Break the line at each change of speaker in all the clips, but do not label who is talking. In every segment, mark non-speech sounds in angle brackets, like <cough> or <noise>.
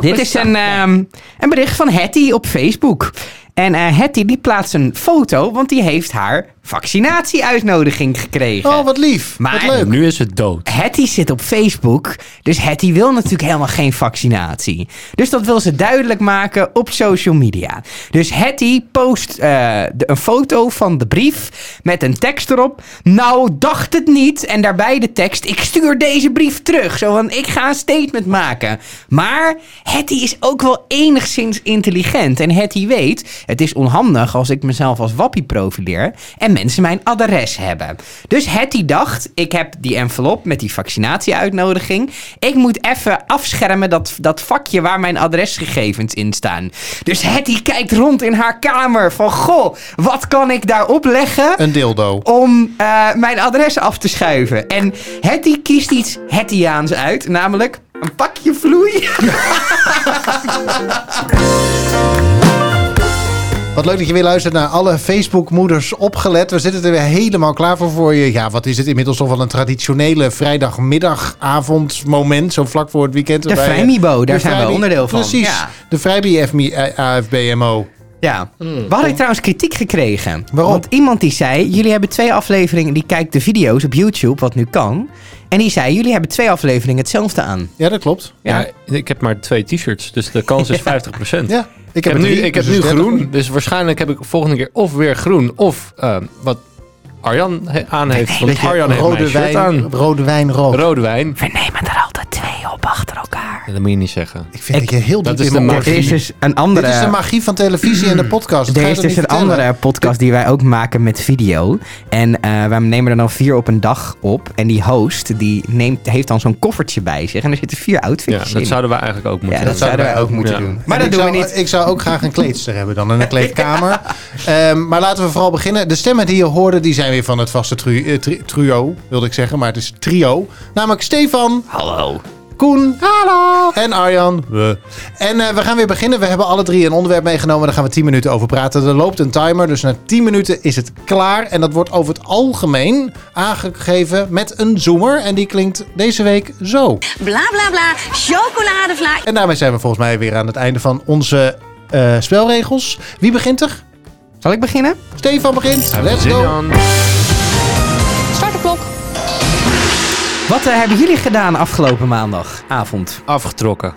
Dit is een, ehm, een bericht van Hetty op Facebook. En eh Hetty die plaatst een foto, want die heeft haar vaccinatieuitnodiging gekregen.
Oh, wat lief.
Maar-
wat leuk.
Nu is het dood.
Hetty zit op Facebook, dus Hetty wil natuurlijk helemaal geen vaccinatie. Dus dat wil ze duidelijk maken op social media. Dus Hetty post eh, de- een foto van de brief met een tekst erop. Nou, dacht het niet. En daarbij de tekst, ik stuur deze brief terug. Zo van, ik ga een statement maken. Maar Hetty is ook wel enigszins intelligent. En Hetty weet, het is onhandig als ik mezelf als wappie profileer en mensen mijn adres hebben. Dus Hetty dacht, ik heb die envelop met die vaccinatieuitnodiging. Ik moet even afschermen dat, dat vakje waar mijn adresgegevens in staan. Dus Hetty kijkt rond in haar kamer van, goh, wat kan ik daar opleggen?
Een dildo.
om eh, mijn adres af te schuiven. En Hetty kiest iets Hettiaans uit, namelijk een pakje vloei.
Wat leuk dat je weer luistert naar alle Facebook-moeders opgelet. We zitten er weer helemaal klaar voor voor je. Ja, wat is het inmiddels toch wel een traditionele vrijdagmiddagavondmoment. Zo vlak voor het weekend.
De
waarbij je-
Vrijmibo, daar
De
zijn we
Vrijmi-
onderdeel van.
Precies.
Ja.
De Vrijbi FMI eh, AFBMO.
Ja. We
Hmm.
hadden trouwens kritiek gekregen.
Waarom?
Want iemand die zei, jullie hebben twee afleveringen, die kijkt de video's op YouTube, wat nu kan. En die zei, jullie hebben twee afleveringen hetzelfde aan.
Ja, dat klopt.
Ja.
Ja. ik heb maar twee t-shirts, dus de <laughs> kans is 50%.
Ja,
Ik heb,
er
nu,
drie,
ik heb
dus
nu
het is dertig.
groen, dus waarschijnlijk heb ik volgende keer of weer groen of ehm, wat Arjan he- aan heeft. Want Arjan heeft mijn
Rode
shirt
wijn,
aan.
rode wijn rood.
Rode wijn.
We nemen er altijd twee op achter elkaar.
Dat moet je niet zeggen.
Ik vind
Ik-
dat je heel
dat
diep in
is de
mijn
Er
magie.
oor-
is dus een andere...
Dit is de magie van televisie en de podcast. Dat
Er
ga je
is
toch
dus
niet
een
vertellen?
andere podcast die wij ook maken met video. En eh, wij nemen er dan vier op een dag op. En die host die neemt, heeft dan zo'n koffertje bij zich. En er zitten vier
Ja,
outfits in.
dat zouden we eigenlijk ook moeten
Ja,
doen.
dat zouden wij ook moeten
Ja.
doen.
Maar
Maar dat
ik
doen we
zou,
niet.
Ik zou ook graag een kleedster hebben dan
<laughs>
en een kleedkamer. Ehm, maar laten we vooral beginnen. De stemmen die je hoorde, die zijn weer van het vaste tru- eh, tri- trio, wilde ik zeggen. Maar het is trio. Namelijk Stefan,
Hallo.
Koen en Arjan. We. En eh, we gaan weer beginnen. We hebben alle drie een onderwerp meegenomen. Daar gaan we 10 minuten over praten. Er loopt een timer, dus na 10 minuten is het klaar. En dat wordt over het algemeen aangegeven met een zoomer. En die klinkt deze week zo.
Bla bla bla, chocoladevla.
En daarmee zijn we volgens mij weer aan het einde van onze eh, spelregels. Wie begint er?
Zal ik beginnen?
Stefan begint. Let's
Zin
go.
aan.
Start de klok.
Wat eh, hebben jullie gedaan afgelopen maandagavond?
Afgetrokken.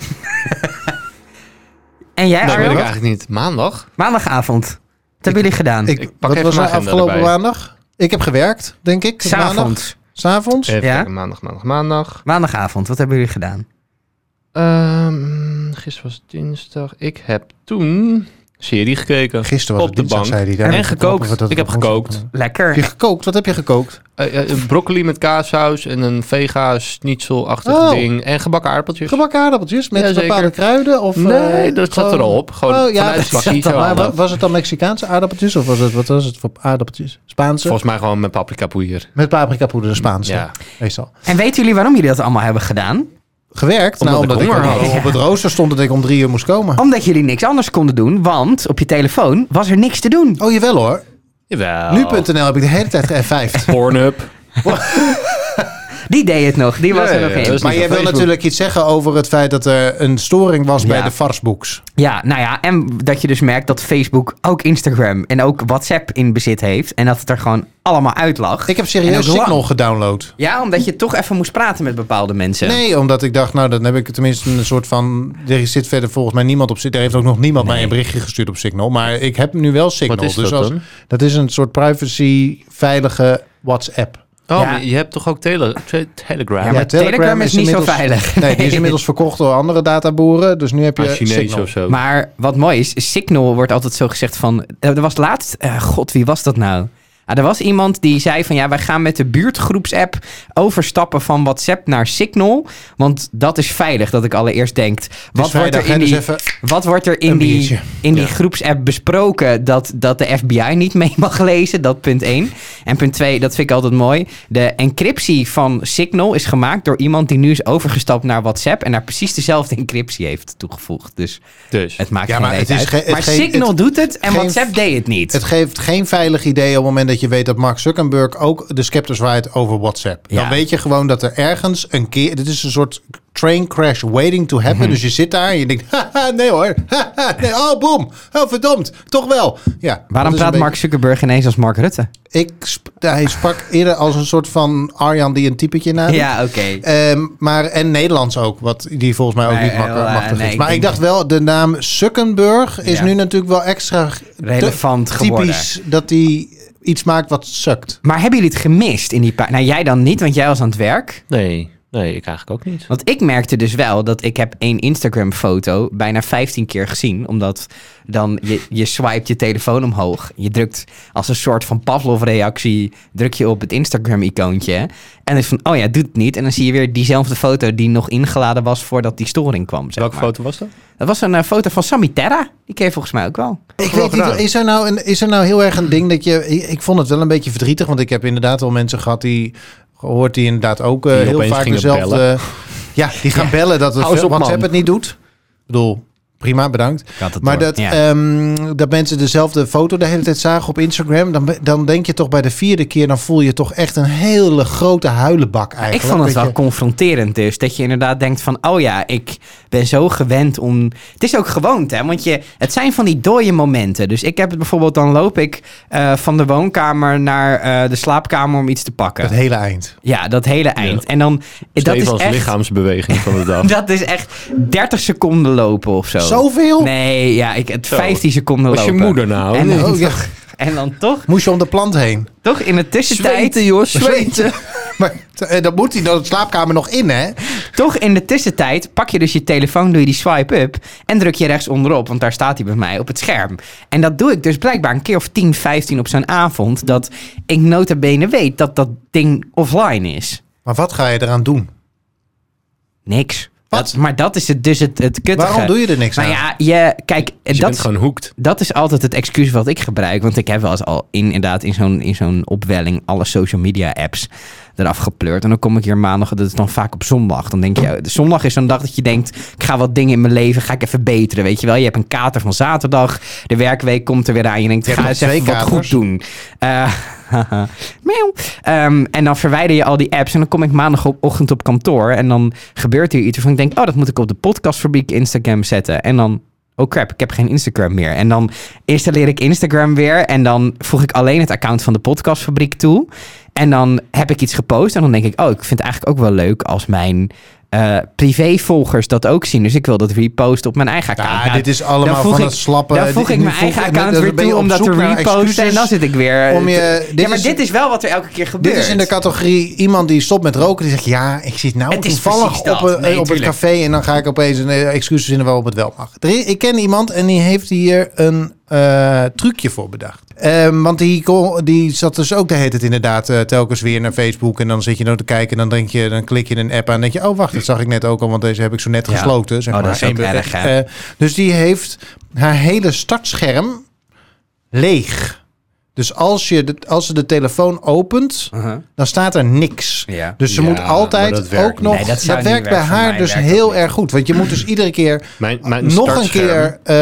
En jij
Dat Nou, weet ik
Arjan?
eigenlijk niet. Maandag?
Maandagavond. Wat hebben jullie gedaan?
Ik,
pak
wat
even
was
mijn
er
agenda
afgelopen
erbij.
maandag? Ik heb gewerkt, denk ik. Maandag.
S'avonds.
S'avonds.
Even
Ja.
kijken, maandag, maandag, maandag.
Maandagavond. Wat hebben jullie gedaan?
Ehm gisteren was dinsdag. Ik heb toen serie gekeken.
Gisteren was
Op
het
de
dinsdag,
bank.
zei hij. Daar
En
heb ik het over
gekookt.
dat
Ik heb
op woensdag
gekookt.
kwam.
Lekker.
Heb je gekookt? Wat heb je gekookt?
Eh, eh, broccoli met kaassaus en een vega schnitzelachtig
Oh.
ding. En gebakken aardappeltjes.
Gebakken aardappeltjes met
Jazeker.
bepaalde kruiden? Of, eh,
Nee, dat zat
gewoon-
er al op. Gewoon
Oh, ja,
vanuit
dat
het
zat
pakket
er-
al
maar wa-
op.
was het dan Mexicaanse aardappeltjes? Of was het, wat was het voor aardappeltjes? Spaanse?
Volgens mij gewoon met paprika poeier.
Met paprikapoeder, de Spaanse.
Ja.
Meestal.
En weten jullie waarom jullie dat allemaal hebben gedaan?
Gewerkt?
Omdat
nou,
ik
omdat ik,
honger
op-
had.
op het rooster stond dat ik om drie uur moest komen.
Omdat jullie niks anders konden doen, want op je telefoon was er niks te doen.
Oh, jawel hoor.
Jawel.
Nu.nl heb ik de hele tijd
<laughs>
geëffijfd.
Pornhub.
Die deed het nog. Die was
Ja,
er nog
ja,
in.
dat is
Maar
niet
jij
van
wil
Facebook.
natuurlijk iets zeggen over het feit dat er een storing was bij
Ja.
de Farsbooks.
Ja, nou ja, en dat je dus merkt dat Facebook ook Instagram en ook WhatsApp in bezit heeft. En dat het er gewoon allemaal uit lag.
Ik heb
En ook
serieus
lang.
Signal gedownload.
Ja, omdat je toch even moest praten met bepaalde mensen.
Nee, omdat ik dacht, nou dan heb ik tenminste een soort van... Er zit verder volgens mij niemand op Signal. Er heeft ook nog niemand mij een berichtje gestuurd op Signal. Maar ik heb nu wel Signal.
Wat is
dus
dat
als,
dan?
dat is een soort privacy-veilige WhatsApp.
Oh,
Ja.
maar je hebt toch ook tele te- Telegram?
Ja, maar Telegram is niet zo
inmiddels-
veilig.
Nee, die is inmiddels verkocht door andere databoeren. Dus nu heb je
Ah, Chinees
Signal.
of zo.
Maar wat mooi is, Signal wordt altijd zo gezegd van... Er was laatst... eh, God, wie was dat nou? Ah, er was iemand die zei van... Ja, wij gaan met de buurtgroepsapp overstappen van WhatsApp naar Signal. Want dat is veilig, dat ik allereerst denk. Wat wordt
vrijdag,
er in
hè, dus
die,
even
wat wordt er in
een
die,
biertje.
in die
Ja.
groepsapp besproken? Dat, dat de FBI niet mee mag lezen, dat punt 1. En punt 2, dat vind ik altijd mooi. De encryptie van Signal is gemaakt door iemand die nu is overgestapt naar WhatsApp... en daar precies dezelfde encryptie heeft toegevoegd. Dus...
dus.
Het maakt
Ja,
geen
maar het
reet
is
uit.
ge- het
maar
geen-
Signal
het-
doet het en
geen-
WhatsApp deed het niet.
Het geeft geen veilig idee op het moment dat je weet dat Mark Zuckerberg ook de scepter waait over WhatsApp.
Ja.
Dan weet je gewoon dat er ergens een keer... Dit is een soort train crash waiting to happen.
Mhm.
Dus je zit daar en je denkt... <laughs> Haha, nee hoor. Haha, nee. Oh, boom. Oh, verdomd. Toch wel. Ja,
Waarom
dat is een
praat Mark Zuckerberg ineens als Mark Rutte?
beetje- Ik, sp- hij sprak eerder als een soort van Arjan die een typetje nadoet.
Ja, oké.
Ehm, maar, en Nederlands ook, wat die volgens mij ook
Nee,
niet mak-
eh,
machtig
nee,
is.
ik
Maar ik,
denk-
dacht wel, de naam Zuckerberg is
Ja.
nu natuurlijk wel extra g-
Relevant
te-
geworden.
Typisch dat hij iets maakt wat sukt.
Maar hebben jullie het gemist in die paar... Nou, jij dan niet, want jij was aan het werk.
Nee, nee, ik eigenlijk ook niet.
Want ik merkte dus wel dat ik heb één Instagram foto bijna 15 keer gezien. Omdat dan je, je swipe je telefoon omhoog. Je drukt als een soort van Pavlov reactie druk je op het Instagram icoontje. En dan is van, oh ja, doet het niet. En dan zie je weer diezelfde foto die nog ingeladen was voordat die storing kwam. Zeg
Welke
maar.
foto was dat?
Dat was een eh, foto van Sammy Terra. Die ken je volgens mij ook wel.
Ik
wel
weet niet,
gedaan.
is er, nou een, is er nou heel erg een ding dat je... Ik, ik vond het wel een beetje verdrietig, want ik heb inderdaad wel mensen gehad die... Gehoord die inderdaad ook eh,
Die
heel
opeens
vaak
gingen
dezelfde...
bellen.
Ja, die gaan bellen dat het
Hou eens op,
WhatsApp
man.
het niet doet. Ik bedoel, prima, bedankt.
had het
Maar
door.
dat,
Ja.
ehm, dat mensen dezelfde foto de hele tijd zagen op Instagram, dan, be- dan denk je toch bij de vierde keer, dan voel je toch echt een hele grote huilenbak
Ik
eigenlijk.
vond het
Dat
wel
je-
confronterend dus. Dat je inderdaad denkt van, oh ja, ik ben zo gewend om... Het is ook gewoonte, hè. Want je, het zijn van die dode momenten. Dus ik heb het bijvoorbeeld, dan loop ik eh, van de woonkamer naar eh, de slaapkamer om iets te pakken.
Het hele eind.
ja, dat hele eind. En dan, dat is,
Stefans
echt,
lichaamsbeweging van de dag.
<laughs> dat is echt 30 seconden lopen of zo.
Zoveel?
Oh. Nee, ja, ik, het
Zo.
15 seconden
Was je
lopen.
moeder nou?
En, dan
Oh, ja.
toch, en dan toch,
Moest je om de plant heen. <laughs>
toch in de tussentijd... <laughs>
joh,
maar t- eh, dan moet hij dan de slaapkamer nog in, hè?
Toch in de tussentijd pak je dus je telefoon, doe je die swipe up en druk je rechts onderop, want daar staat hij bij mij op het scherm. En dat doe ik dus blijkbaar een keer of 10, 15 op zo'n avond, dat ik nota bene weet dat dat ding offline is.
Maar wat ga je eraan doen?
Niks.
Wat?
Dat- maar dat is het, dus het, het kuttige.
Waarom doe je er niks
Maar
aan?
ja, je, kijk,
Dus Je
dat,
bent gewoon hoekt.
dat is altijd het excuus wat ik gebruik. Want ik heb wel eens al inderdaad in zo'n, in zo'n opwelling alle social media apps eraf gepleurd. En dan kom ik hier maandag, dat is dan vaak op zondag. Dan denk je, de zondag is zo'n dag dat je denkt, ik ga wat dingen in mijn leven, ga ik even beteren. Weet je wel, je hebt een kater van zaterdag, de werkweek komt er weer aan. Je denkt,
Je hebt
ga
nog
eens even
twee
wat
katers.
goed doen. Eh, <laughs> haha, meeuw. Ehm, en dan verwijder je al die apps en dan kom ik maandagochtend op kantoor en dan gebeurt hier iets waarvan ik denk, oh dat moet ik op de podcastfabriek Instagram zetten. En dan oh crap, ik heb geen Instagram meer. En dan installeer ik Instagram weer en dan voeg ik alleen het account van de podcastfabriek toe. En dan heb ik iets gepost en dan denk ik, oh, ik vind het eigenlijk ook wel leuk als mijn eh, privévolgers dat ook zien. Dus ik wil dat reposten op mijn eigen
Ja,
account.
dit is
dan
allemaal
voeg
van
ik-
het slappe...
dan voeg
die-
ik
nu
mijn eigen
en dan
account weer
ben je
toe
op
om dat
zoek
te
naar
reposten. En
excuses.
dan zit ik weer... eh,
om je-
ja,
dit
maar
is-
dit is wel wat er elke keer gebeurt.
Dit is in de categorie iemand die stopt met roken. Die zegt, ja, ik zit nou
Het is
toevallig
precies dat.
op, een,
Nee,
op het
tuurlijk.
café... en dan ga ik opeens een eh, excuus verzinnen waarop het wel mag. Er is- ik ken iemand en die heeft hier een eh, trucje voor bedacht. Ehm, want die, kon- die zat dus ook de hele tijd inderdaad eh, telkens weer naar Facebook... en dan zit je nou te kijken en dan, denk je, dan klik je een app aan... en denk je, oh wacht, dat zag ik net ook al, want deze heb ik zo net
Ja.
gesloten. Zeg
Oh, dat is
maar.
ook
Eén-
erg, hè?
eh, dus die heeft haar hele startscherm leeg... Dus als, je de, als ze de telefoon opent,
Uh-huh.
dan staat er niks.
Ja.
Dus ze
Ja,
moet
maar dat
altijd
werkt
ook nog.
niet. Nee, dat
dat
zou niet
werkt bij
werken. Voor
haar
mij
dus
werkt
heel
dat niet.
erg goed. Want je moet
<clears throat>
dus iedere keer
Mijn, mijn
nog een
startscherm-
keer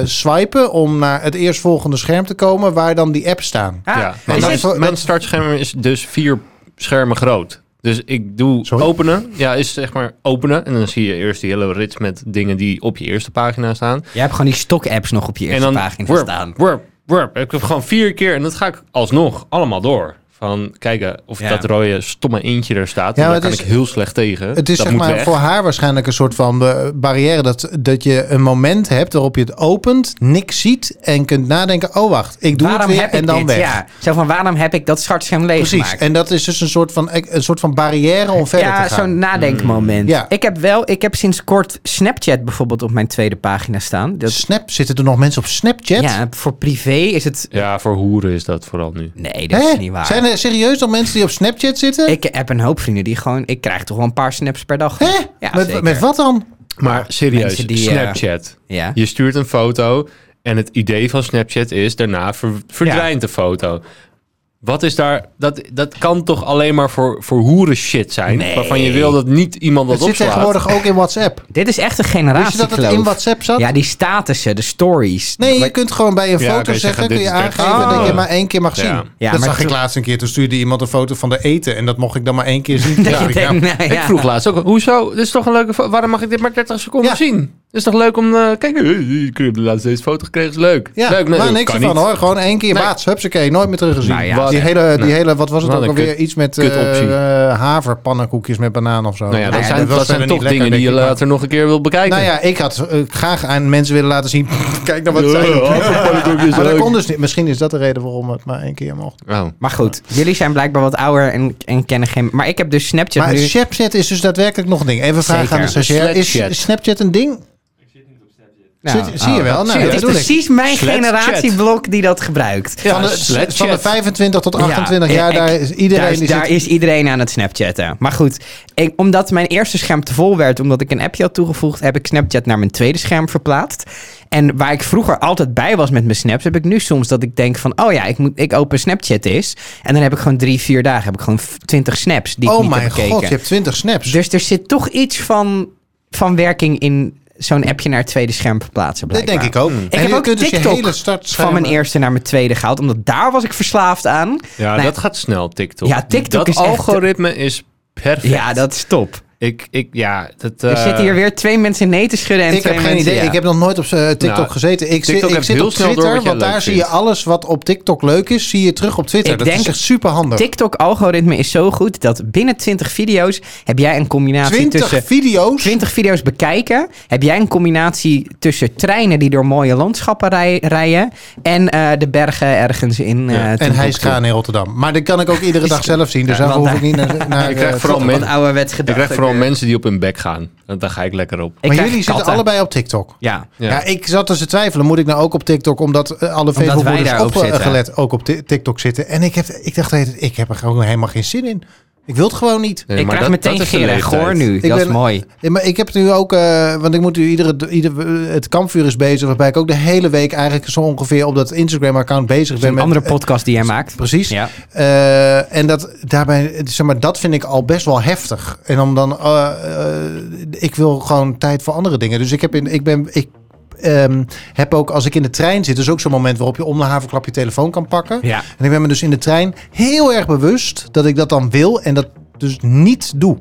eh, swipen om naar het eerstvolgende scherm te komen waar dan die apps staan.
Ah,
ja.
maar
Maar
is
mijn,
dat-
het- dat-
mijn startscherm is dus vier schermen groot. Dus ik doe
Sorry?
openen. Ja, is zeg maar openen. En dan zie je eerst die hele rits met dingen die op je eerste pagina staan.
Jij hebt gewoon die stock-apps nog op je
en
eerste
dan
pagina
worp,
staan.
worp, worp. Ik heb gewoon vier keer. En dat ga ik alsnog allemaal door. Van kijken of
Ja.
dat rode stomme eentje er staat.
Ja,
Ja, daar
maar
kan
het
ik
is-
heel slecht tegen.
Het is
dat
zeg
moet
maar
weg.
voor haar waarschijnlijk een soort van eh, barrière dat, dat je een moment hebt waarop je het opent, niks ziet en kunt nadenken: oh wacht, ik doe
waarom
het weer
heb ik
en dan
dit?
weg.
Ja, zo van waarom heb ik dat startscherm
Precies.
leeggemaakt?
En dat is dus een soort van, een soort van barrière om verder
Ja,
te gaan.
zo'n nadenkmoment.
Mm. Ja.
Ik heb wel, ik heb sinds kort Snapchat bijvoorbeeld op mijn tweede pagina staan. Dat,
Snap, zitten er nog mensen op Snapchat?
ja, voor privé is het...
Ja, voor hoeren is dat vooral nu.
Nee, dat
Hè?
is niet waar.
Zijn er serieus nog mensen die op Snapchat zitten?
Ik heb een hoop vrienden die gewoon... Ik krijg toch wel een paar snaps per dag.
Hè?
Ja,
met,
zeker.
met wat dan?
Maar serieus,
Mensen die, eh,
Snapchat.
Ja.
Je stuurt een foto en het idee van Snapchat is daarna ver- verdwijnt de foto. Wat is daar... Dat, dat kan toch alleen maar voor, voor hoeren shit zijn?
Nee.
Waarvan je wil dat niet iemand dat
Het zit
opslaat.
tegenwoordig ook in WhatsApp.
Dit is echt een
Wist je
generatie.
dat het in WhatsApp zat?
Ja, die statussen, de stories.
Nee, je kunt gewoon bij een
Ja,
foto
kun je
zeggen,
zeggen,
kun
dit
je
is echt-
aangeven
Oh.
dat je maar één keer mag zien.
Ja.
Ja,
dat
maar
zag ik
toen-
laatst een keer. Toen stuurde iemand een foto van de eten. En dat mocht ik dan maar één keer zien. <laughs> Toen
Dat
dacht
je
ik,
denkt, <laughs>
nou,
nou ja.
Ik vroeg laatst ook, hoezo? Dit is toch een leuke foto? Waarom mag ik dit maar 30 seconden
Ja.
zien? Het is toch leuk om... eh kijk, eh, ik heb de laatste deze foto gekregen, is leuk.
Ja,
leuk,
maar niks
kan
ervan
niet.
hoor. Gewoon één keer
Nee.
baats. Hupsakee, nooit meer teruggezien.
Nou ja,
die
nee.
hele, die hele, wat was het
Wat
ook
een
alweer?
kut-
Iets met
kutoptie.
eh haverpannenkoekjes met banaan of zo.
Nou ja, dat
ja,
zijn,
was
dat zijn
verder
toch
niet lekker,
dingen die je
denk ik, maar-
later nog een keer wil bekijken.
Nou ja, ik had eh, graag aan mensen willen laten zien. <laughs> Kijk naar wat
<laughs>
zij
Oh,
doen. Maar dat kon dus niet. Misschien is dat de reden waarom het maar één keer mocht.
Maar goed, jullie zijn blijkbaar wat ouder en, en kennen geen... Maar ik heb dus Snapchat
Maar
nu...
Snapchat is dus daadwerkelijk nog een ding. Even vragen
Zeker.
aan de stagiair.
Snapchat.
Is Snapchat een ding?
Nou,
Zit- zie je wel? Nou,
zie je,
dat
het is
bedoel ik.
precies mijn
Snapchat.
generatieblok die dat gebruikt.
van, de,
Snapchat.
van de 25 tot 28
Ja,
jaar,
ik-
daar is iedereen
daar is,
die
daar
zit...
is iedereen aan het Snapchatten. Maar goed, ik- omdat mijn eerste scherm te vol werd, omdat ik een appje had toegevoegd, heb ik Snapchat naar mijn tweede scherm verplaatst. En waar ik vroeger altijd bij was met mijn snaps, heb ik nu soms dat ik denk van, oh ja, ik, moet, ik open Snapchat is. En dan heb ik gewoon drie, vier dagen, heb ik gewoon twintig snaps die ik
Oh
niet heb
mijn
bekeken.
god, je hebt 20 snaps.
Dus er zit toch iets van, van werking in zo'n appje naar het tweede scherm verplaatsen
Dat
blijkbaar.
denk ik ook. En
heb
je
ook
kunt dus je
TikTok
hele start
Van mijn
eerste.
eerste naar mijn tweede gehaald, omdat daar was ik verslaafd aan. Nou
Ja,
Nee.
dat gaat snel, TikTok.
Ja, TikTok
dat
is echt-
algoritme is perfect.
Ja, dat is top.
Ik, ik, ja, dat...
Er
eh,
zitten hier weer twee mensen nee te schudden en
Ik
twee
heb geen
mensen
idee.
ja.
Ik heb nog nooit op eh, TikTok
Nou,
gezeten. Ik,
TikTok
zit, ik
heeft
zit
heel
op
snel door
Twitter,
wat jij
want
leuk
daar zie je
vindt.
alles wat op TikTok leuk is, zie je terug op Twitter.
Ik
dat
denk-
is echt super handig.
TikTok-algoritme is zo goed dat binnen 20 video's heb jij een combinatie
20
tussen...
video's.
20 video's bekijken, heb jij een combinatie tussen treinen die door mooie landschappen rij- rijden en eh, de bergen ergens in. eh
Ja,
en
en
hij is
Timbuktu.
gaan in Rotterdam. Maar dat kan ik ook iedere dag zelf zien. Dus
Ja,
daar
want
hoef ik
<laughs>
niet naar... naar
Je krijgt
eh,
vooral
te-
meer-
Wat ouderwets
ik
gedacht.
krijg vooral
ook weer.
mensen die op hun bek gaan. En Daar ga ik lekker op.
Ik
Maar
krijg
jullie zitten
katten.
allebei op TikTok.
Ja.
Ja.
Ja.
ik zat dus te twijfelen. Moet ik nou ook op TikTok? Omdat eh, alle
wij daar
Facebook-moeders
ook zitten.
opgelet ook op Ti- TikTok zitten. En ik, heb, ik dacht, de hele tijd, ik heb er gewoon helemaal geen zin in. Ik wil het gewoon niet.
Nee,
ik
maar
krijg
dat-
meteen
dat is de
geren.
leeftijd.
Goor nu. dat is
ben-
mooi.
Ja, maar ik heb nu ook, eh, want ik moet nu iedere, ieder, het kampvuur is bezig, waarbij ik ook de hele week eigenlijk zo ongeveer op dat Instagram-account bezig
Dat is
ben.
een
met-
andere podcast die jij maakt.
Precies.
Ja.
Eh, en dat daarbij, zeg maar, dat vind ik al best wel heftig. En om dan, eh, eh, ik wil gewoon tijd voor andere dingen. Dus ik heb in, ik ben, ik ehm, heb ook als ik in de trein zit, is ook zo'n moment waarop je om de havenklap je telefoon kan pakken.
Ja.
En ik ben me dus in de trein heel erg bewust dat ik dat dan wil en dat dus niet doe.